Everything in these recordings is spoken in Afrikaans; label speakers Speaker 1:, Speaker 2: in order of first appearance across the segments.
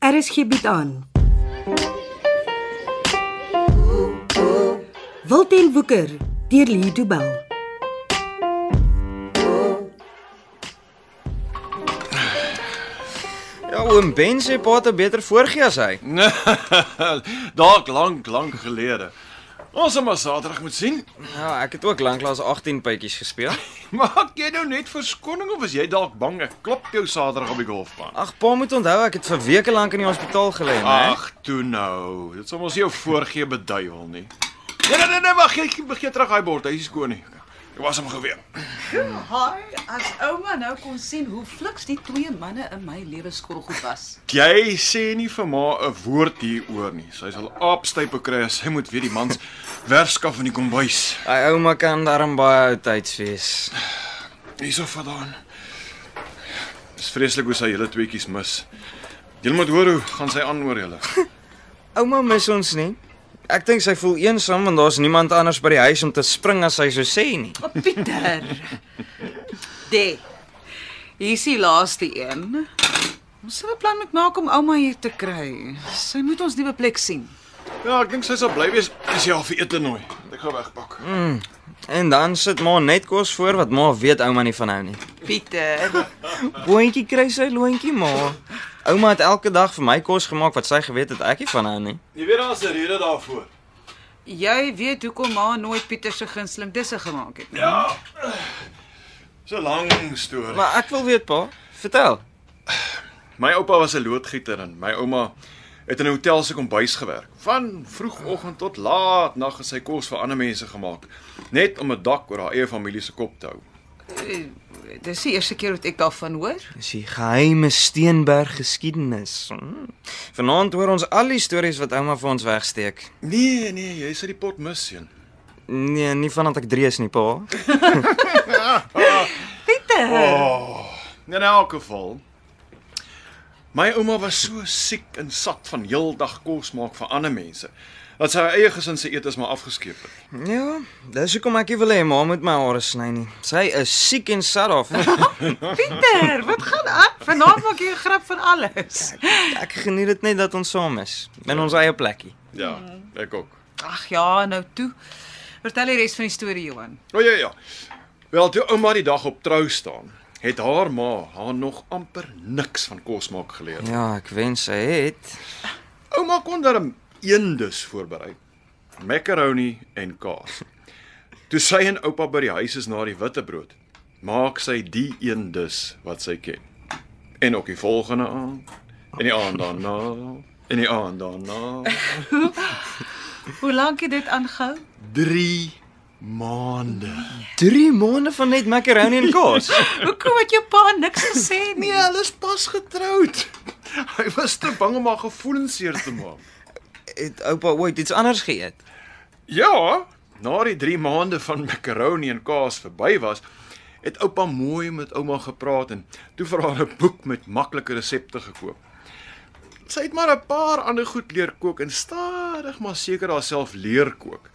Speaker 1: RSG bied Er aan. Wilten Woeker deur Lee Du Bell.
Speaker 2: Ja, oom Ben sê pa het 'n beter voorgee as hy.
Speaker 3: Dalk lank, lank gelede. Ons het maar Saterdag moet sien.
Speaker 2: Ja, ek het ook lanklaas 18 pypies gespeel.
Speaker 3: Maak jy nou net verskoning of is jy dalk bang ek klop jou Saterdag op die golfbaan?
Speaker 2: Ag, pa moet onthou ek het vir weke lank in die hospitaal gelê, né?
Speaker 3: Ag, toe nou. Dit sal ons jou voorgee beduiwel nie. Nee nee nee, nee wag, jy begin terug daai bord. Hy is skoon nie. Ek was hom gou weer.
Speaker 4: Haai, as ouma nou kon sien hoe fliks die twee manne in my lewe skottelgoed was.
Speaker 3: Jy sê nie vir ma 'n woord hieroor nie. Sy sal aapstype kry as sy moet weet die mans werskaf in die kombuis.
Speaker 2: Hy ouma kan darm baie oudtyds wees.
Speaker 3: Hierso vandaan. Dis vreeslik hoe sy julle tweeetjies mis. Julle moet hoor hoe gaan sy aan oor julle.
Speaker 2: Ouma mis ons nie. Ek dink sy voel eensaam want daar's niemand anders by die huis om te spring as sy so sê nie.
Speaker 4: O, Pieter. De. Hier's die laaste een. Ons sal 'n plan moet maak om ouma hier te kry. Sy moet ons nuwe plek sien.
Speaker 3: Ja, ek dink sy sal bly wees as jy haar vir ete nooi. Ek gaan wegpak.
Speaker 2: En dan sit ma net kos voor wat ma weet ouma nie van hou nie.
Speaker 4: Pieter.
Speaker 2: Boontjie kry sy loontjie maar. Ouma het elke dag vir my kos gemaak wat sy geweet het ek nie van hou nie.
Speaker 3: Jy weet daar's 'n rede daarvoor.
Speaker 4: Jy weet hoekom ma nooit Pieter se gunsteling disse gemaak het. nie.
Speaker 3: Ja. So lank storie.
Speaker 2: Maar ek wil weet pa, vertel.
Speaker 3: My oupa was 'n loodgieter en my ouma het in 'n hotel se kombuis gewerk. Van vroegoggend tot laat nag het sy kos vir ander mense gemaak, net om 'n dak oor haar eie familie se kop te hou.
Speaker 4: Eh, Dis die eerste keer wat ek daarvan hoor.
Speaker 2: Dis die geheime Steenberg geskiedenis. Hmm. Vanaand hoor ons al die stories wat ouma vir ons wegsteek.
Speaker 3: Nee, nee, jy sit die pot mis seun.
Speaker 2: Nee, nie vandat ek 3 is nie, pa.
Speaker 4: Pieter.
Speaker 3: Oh. In elk geval my ouma was so siek en sat van heeldag kos maak vir ander mense dat sy haar eie gesin se etes maar afgeskeep het.
Speaker 2: Ja, dis hoekom ek nie wil hê ma moet my hare sny nie. Sy is siek en sat af.
Speaker 4: Pieter, wat gaan aan? Vanaand maak jy 'n grap van alles.
Speaker 2: Ek geniet dit net dat ons saam is in ons eie plekkie.
Speaker 3: Ja, ek ook.
Speaker 4: Ag ja, nou toe. Vertel die res van die storie, Johan.
Speaker 3: O ja ja. Wel toe ouma die dag op trou staan, het haar ma haar nog amper niks van kos maak geleer. Ja.
Speaker 2: Ja, ek wens sy het.
Speaker 3: Ouma kon darm eendus voorberei. Macaroni en kaas. Toe sy en oupa by die huis is na die witbrood, maak sy die een dus wat sy ken. En ook die volgende aand, en die aand daarna, en die aand daarna.
Speaker 4: Hoe lank het dit aangehou?
Speaker 3: 3 maande.
Speaker 2: 3 maande van net macaroni en kaas.
Speaker 4: Hoekom het jou pa niks gesê nie?
Speaker 3: Nee, hulle is pas getroud. Hy was te bang om haar gevoelens seer te maak.
Speaker 2: Het oupa ooit iets anders geëet?
Speaker 3: Ja, na die 3 maande van macaroni en kaas verby was, het oupa mooi met ouma gepraat en toe vir haar 'n boek met maklike resepte gekoop. Sy het maar 'n paar ander goed leer kook en stadig maar seker haarself leer kook.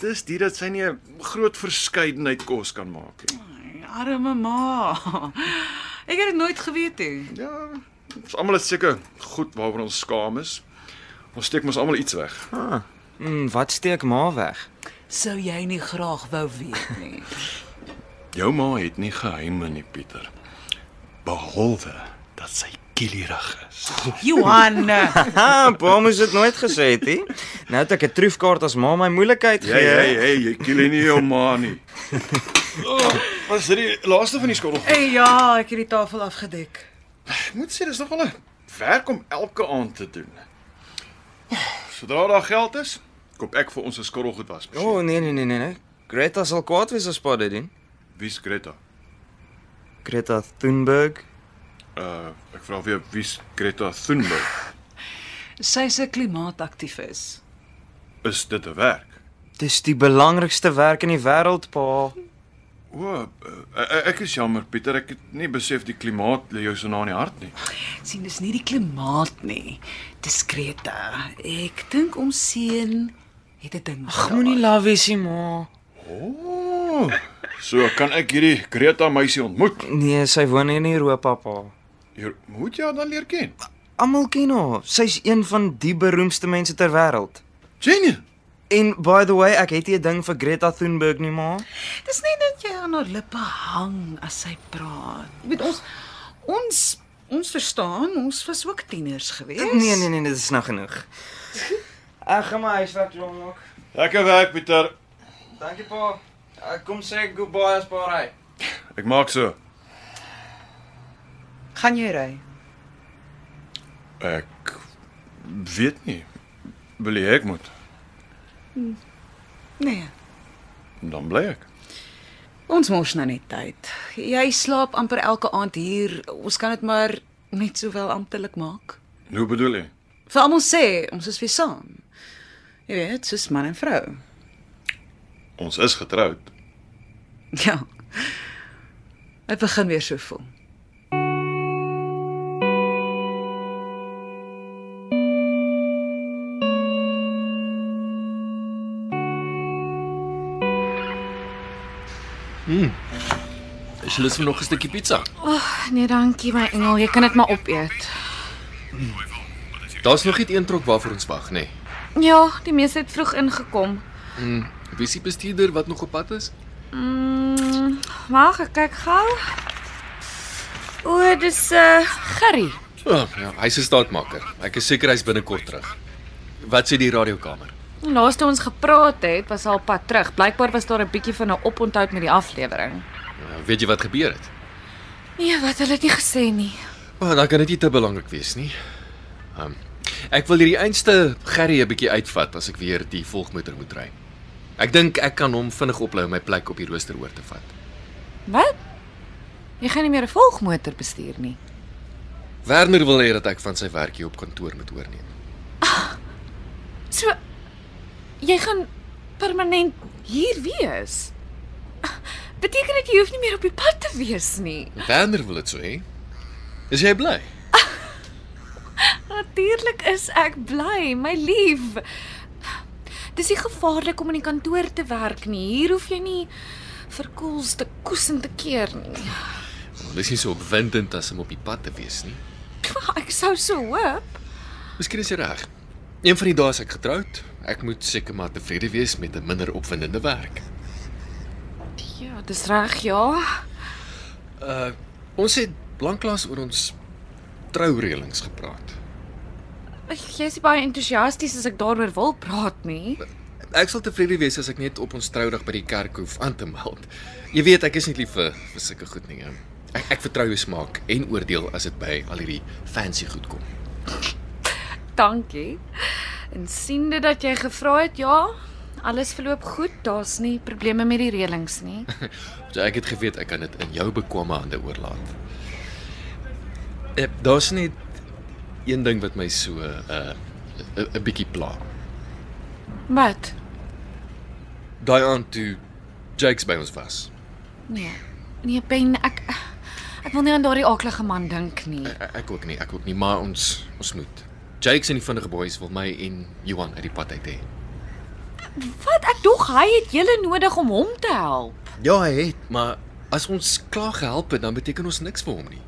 Speaker 3: Dis dit dat sy nie 'n groot verskeidenheid kos kan maak nie.
Speaker 4: Nee. Arme ma. Ek het dit nooit geweet nie.
Speaker 3: Ja, ons almal is seker goed waaroor ons skaam is. Ons steek mos almal iets weg.
Speaker 2: Mm, wat steek ma weg?
Speaker 4: Sou jy nie graag wou weet nie.
Speaker 3: Jou ma het nie geheime nie, Pieter. Behalwe dat sy kielierig is.
Speaker 4: Johan,
Speaker 2: Ha, pa moes dit nooit gesê het nie. Nou het ek 'n troefkaart as ma my moeilikheid
Speaker 3: Ja,
Speaker 2: gee.
Speaker 3: hey, jy kiel nie jou ma nie. Oh, was dit die laaste van die skottel?
Speaker 4: hey, ja, ek het die tafel afgedek.
Speaker 3: Ek moet sê dis nogal 'n werk om elke aand te doen. Sodra daar geld is, koop ek vir ons 'n skottelgoed was.
Speaker 2: O oh, nee nee nee nee, nee. Greta sal kwaad wees as pa dit doen.
Speaker 3: Wie's Greta?
Speaker 2: Greta Thunberg.
Speaker 3: Uh, ek vra weer wie's Greta Thunberg?
Speaker 4: Sy's 'n klimaataktivis.
Speaker 3: Is dit 'n werk?
Speaker 2: Dis die belangrikste werk in die wêreld, pa.
Speaker 3: O, uh, ek is jammer Pieter, ek het nie besef die klimaat lê jou so na in die hart nie.
Speaker 4: Sien, dis nie die klimaat nie. Dis Greta. Ek dink ons seun het 'n ding. Ag,
Speaker 2: laat wees nie, ma.
Speaker 3: Ooh, so kan ek hierdie Greta meisie ontmoet.
Speaker 2: Nee, sy woon hier in Europa, pa.
Speaker 3: Hier moet jy haar dan leer ken.
Speaker 2: Almal ken haar. Sy's een van die beroemdste mense ter wêreld.
Speaker 3: Jenny,
Speaker 2: En by the way, ek het hier 'n ding vir Greta Thunberg nie maar.
Speaker 4: Dis net dat jy aan haar lippe hang as sy praat. Jy weet ons ons ons verstaan, ons was ook tieners gewees.
Speaker 2: Nee nee nee, dit is nou genoeg. Ek gaan my huiswerk klaar maak.
Speaker 3: lekker werk Pieter.
Speaker 2: Dankie pa. Ek kom sê goodbye as pa ry.
Speaker 3: Ek maak so.
Speaker 4: Gaan jy ry?
Speaker 3: Ek weet nie. Wil jy ek moet?
Speaker 4: Nee.
Speaker 3: Dan bly ek.
Speaker 4: Ons mors nou net tyd. Jy slaap amper elke aand hier. Ons kan dit maar net sowel amptelik maak.
Speaker 3: Hoe bedoel jy?
Speaker 4: Vir almal sê ons is weer saam. Jy weet, soos man en vrou.
Speaker 3: Ons is getroud.
Speaker 4: Ja. Dit begin weer so voel.
Speaker 5: Is lus vir nog 'n stukkie pizza?
Speaker 6: Nee, dankie my engel, jy kan dit maar opeet.
Speaker 5: Daar's nog net een trok waarvoor ons wag, nê. Nee.
Speaker 6: Ja, die meeste het vroeg ingekom.
Speaker 5: Wie is die bestuurder wat nog op pad is?
Speaker 6: Mm, wag, ek kyk gou. O, dis 'n uh, gerry.
Speaker 5: Oh, ja, hy's 'n staatmaker. Ek is seker hy's binnekort terug. Wat sê die radiokamer?
Speaker 6: Laaste ons gepraat het, was al pad terug. Blykbaar was daar 'n bietjie van 'n oponthoud met die aflewering.
Speaker 5: Uh, weet jy wat gebeur het?
Speaker 6: Nee, wat hulle het nie gesê nie.
Speaker 5: Maar oh, dan kan dit nie te belangrik wees nie. Um, ek wil hierdie einste Gerry 'n bietjie uitvat as ek weer die volgmotor moet ry. Ek dink ek kan hom vinnig oplei om my plek op die rooster oor te vat.
Speaker 6: Wat? Jy gaan nie meer 'n volgmotor bestuur nie.
Speaker 5: Werner wil hê dat ek van sy werk hier op kantoor moet oorneem.
Speaker 6: So jy gaan permanent hier wees. Beteken dit jy hoef nie meer op die pad te wees nie?
Speaker 5: Werner wil dit so hê. Is jy bly?
Speaker 6: Natuurlik is ek bly, my lief. Dis nie gevaarlik om in die kantoor te werk nie. Hier hoef jy nie verkoels te koes en te keer nie.
Speaker 5: Wel, Dis nie so opwindend as om op die pad te wees nie.
Speaker 6: Ek sou so hoop.
Speaker 5: Miskien is jy reg. Een van die dae is ek getroud. Ek moet seker maar tevrede wees met 'n minder opwindende werk.
Speaker 6: Ja, dis reg, ja.
Speaker 5: Uh ons het lanklaas oor ons troureëlings gepraat.
Speaker 6: Jy's nie baie entoesiasties as ek daaroor wil praat nie.
Speaker 5: Ek sal tevrede wees as ek net op ons troudag by die kerk hoef aan te meld. Jy weet ek is nie lief vir, vir sulke goed nie. um. Ek ek vertrou jou smaak en oordeel as dit by al hierdie fancy goed kom.
Speaker 6: Dankie. En siende dat jy gevra het, ja, alles verloop goed. Daar's nie probleme met die reëlings nie.
Speaker 5: So ek het geweet ek kan dit in jou bekwame hande oorlaat. Eh, Daar's net een ding wat my so 'n uh, 'n- 'n bietjie pla.
Speaker 6: Wat?
Speaker 5: Daai aand toe Jakes by ons was.
Speaker 6: Nee. Nee, Ben, ek ek wil nie aan daardie aaklige man dink nie.
Speaker 5: Ek, E-, ek ook nie, ek ook nie, maar ons ons moet. Jakes en die vinnige boys wil my en Johan uit die pad uit hê.
Speaker 6: Wat ek dog hy het julle nodig om hom te help.
Speaker 5: Ja, hy het, maar as ons klaar gehelp het, dan beteken ons niks vir hom nie.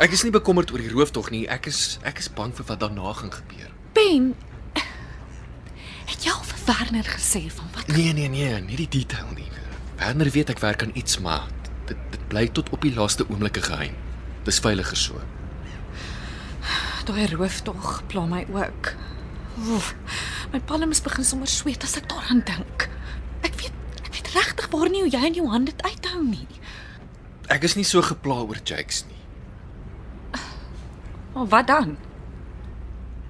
Speaker 5: Ek is nie bekommerd oor die rooftog nie. Ek is ek is bang vir wat daarna gaan gebeur.
Speaker 6: Ben, het jy al vir Werner gesê van wat?
Speaker 5: Nee nee nee, nie die detail nie. Werner weet ek werk aan iets, maar dit dit bly tot op die laaste oomblik 'n geheim. Dis veiliger so.
Speaker 6: Daai rooftog pla my ook. Oef, my palms begin sommer sweet as ek daaraan dink. Ek weet ek weet regtig waar nie hoe jy en Johan dit uithou nie.
Speaker 5: Ek is nie so gepla oor Jakes nie.
Speaker 6: Maar wat dan?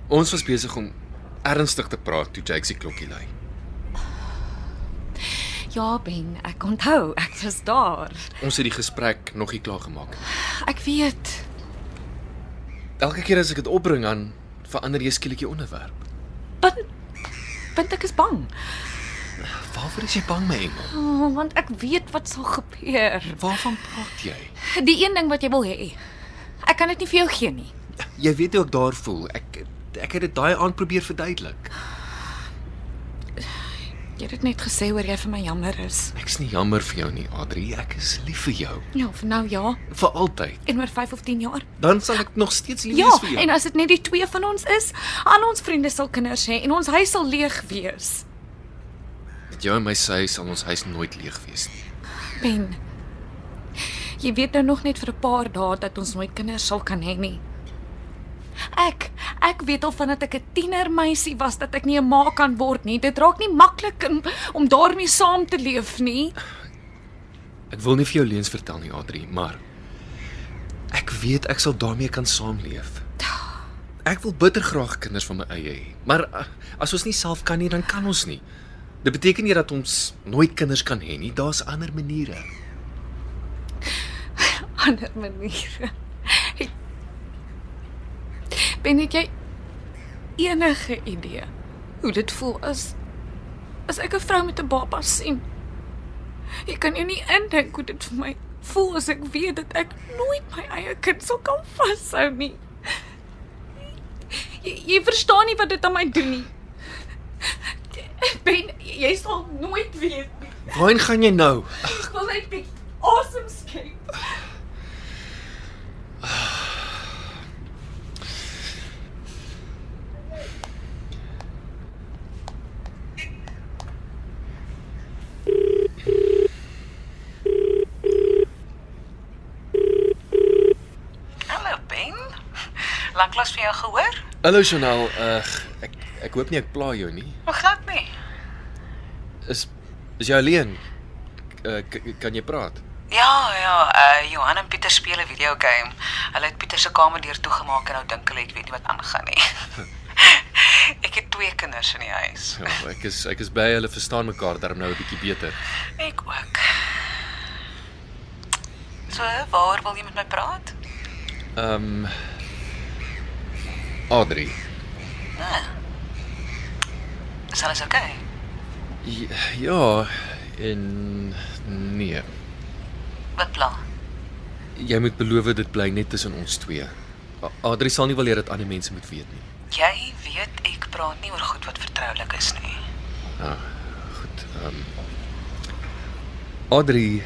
Speaker 5: Ons was besig om ernstig te praat toe Jakes die klokkie lui.
Speaker 6: Ja, Ben, ek onthou, ek was daar.
Speaker 5: Ons het die gesprek nog nie klaar gemaak nie.
Speaker 6: Ek weet.
Speaker 5: Elke keer as ek dit opbring aan verander jy skielik die onderwerp.
Speaker 6: Punt. Punt ek is bang.
Speaker 5: Waarvoor is jy bang my engel?
Speaker 6: Oh, want ek weet wat sal gebeur.
Speaker 5: Waarvan praat jy?
Speaker 6: Die een ding wat jy wil hê. Ek kan dit nie vir jou gee nie.
Speaker 5: Jy weet hoe ek daar voel. Ek ek het dit daai aand probeer verduidelik.
Speaker 6: Jy het dit net gesê oor jy vir my jammer is.
Speaker 5: Ek's nie jammer vir jou nie, Adri. Ek is lief vir jou
Speaker 6: Ja, vir nou ja,
Speaker 5: vir altyd.
Speaker 6: en oor 5 of 10 jaar.
Speaker 5: Dan sal ek nog steeds lief
Speaker 6: Ja,
Speaker 5: wees vir jou.
Speaker 6: en as dit net die twee van ons is, al ons vriende sal kinders hê en ons huis sal leeg wees.
Speaker 5: Met jou en my sy sal ons huis nooit leeg wees nie.
Speaker 6: Ben. Jy weet nou nog net vir 'n paar dae dat ons nooit kinders sal kan hê nie. Ek ek weet al vandat ek 'n tienermeisie was dat ek nie 'n ma kan word nie. Dit raak nie maklik om, om daarmee saam te leef nie.
Speaker 5: Ek wil nie vir jou leuns vertel nie, Adri, maar ek weet ek sal daarmee kan saamleef. Ek wil bitter graag kinders van my eie hê, maar uh, as ons nie self kan nie, dan kan ons nie. Dit beteken nie dat ons nooit kinders kan hê nie. Daar's ander maniere.
Speaker 6: Ander maniere. Hey. Ben het jy enige idee hoe dit voel as as ek 'n vrou met 'n baba sien? Jy kan jou nie indink hoe dit vir my voel as ek weet dat ek nooit my eie kind sal kan vashou nie. Jy, jy verstaan nie wat dit aan my doen nie. Ben, jy sal nooit weet nie.
Speaker 5: Waarheen gaan jy nou?
Speaker 6: Ek wil net bietjie awesome skep.
Speaker 4: Hallo Ben. Lanklaas vir jou gehoor?
Speaker 5: Hallo Chanel, uh, ek ek hoop nie ek pla jou nie.
Speaker 4: Hoe gaan dit nie?
Speaker 5: Is is jy alleen? Uh, k- kan jy praat?
Speaker 4: Ja, ja, uh Johan en Pieter speel 'n videogame. Hulle het Pieter se kamer deur toegemaak en nou dink hulle ek weet nie wat aangaan nie. ek het twee kinders in die huis.
Speaker 5: Ja, ek is ek is by hulle verstaan mekaar darm nou 'n bietjie beter.
Speaker 4: Ek ook. So, waaroor wil jy met my praat?
Speaker 5: Ehm um, Adri.
Speaker 4: Nee. Is alles oukei? Okay?
Speaker 5: J- Ja, en nee.
Speaker 4: Wat pla?
Speaker 5: Jy moet beloof dit bly net tussen ons twee. A- Adri sal nie wil hê dat ander mense moet weet nie.
Speaker 4: Jy weet ek praat nie oor goed wat vertroulik is nie.
Speaker 5: Goed. Ehm um, Adri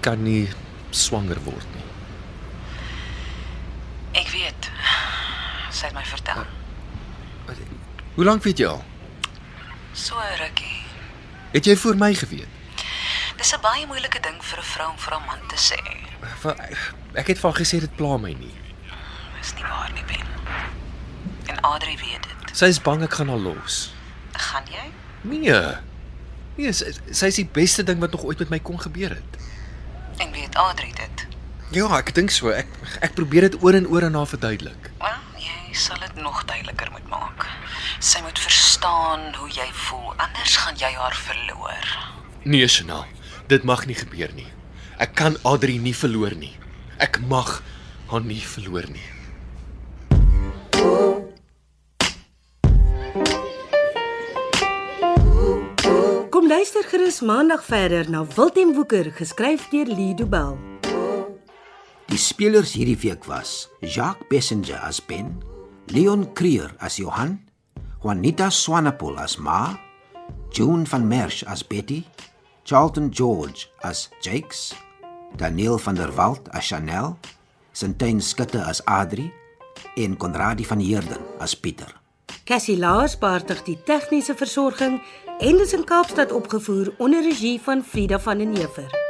Speaker 5: kan nie swanger word nie.
Speaker 4: Ek weet. Sy het my vertel.
Speaker 5: Hoe lank weet jy al?
Speaker 4: So rukkie.
Speaker 5: Het jy voor my geweet?
Speaker 4: Dis 'n baie moeilike ding vir 'n vrou om vir 'n man te sê.
Speaker 5: Wel, Ek het van gesê dit pla my nie.
Speaker 4: Dis nie waar nie, Ben. En Adri weet dit.
Speaker 5: Sy is bang ek gaan haar los.
Speaker 4: Gaan jy?
Speaker 5: Nee. Nee, sy, sy is die beste ding wat nog ooit met my kon gebeur het.
Speaker 4: En weet Adri dit?
Speaker 5: Ja, ek dink so. Ek ek probeer dit oor en oor aan haar verduidelik.
Speaker 4: Wel, jy sal dit nog duideliker moet maak. Sy moet verstaan hoe jy voel, anders gaan jy haar verloor.
Speaker 5: Nee, Chanel, dit mag nie gebeur nie. Ek kan Adri nie verloor nie. Ek mag haar nie verloor nie.
Speaker 1: Kom luister gerus maandag verder na Wilten Woeker geskryf deur Lido Bell.
Speaker 7: Die spelers hierdie week was: Jacques Bessenger as Ben, Leon Creer as Johan, Juanita Swanepoel as Ma, June van Merch as Betty, Charlton George as Jakes, Daniel van der Walt as Chanel, Sintyn Skutte as Adri en Konradi van Heerden as Pieter.
Speaker 1: Cassie Lars beheerdig die tegniese versorging en dit is in Kaapstad opgevoer onder regie van Frida van den Heever.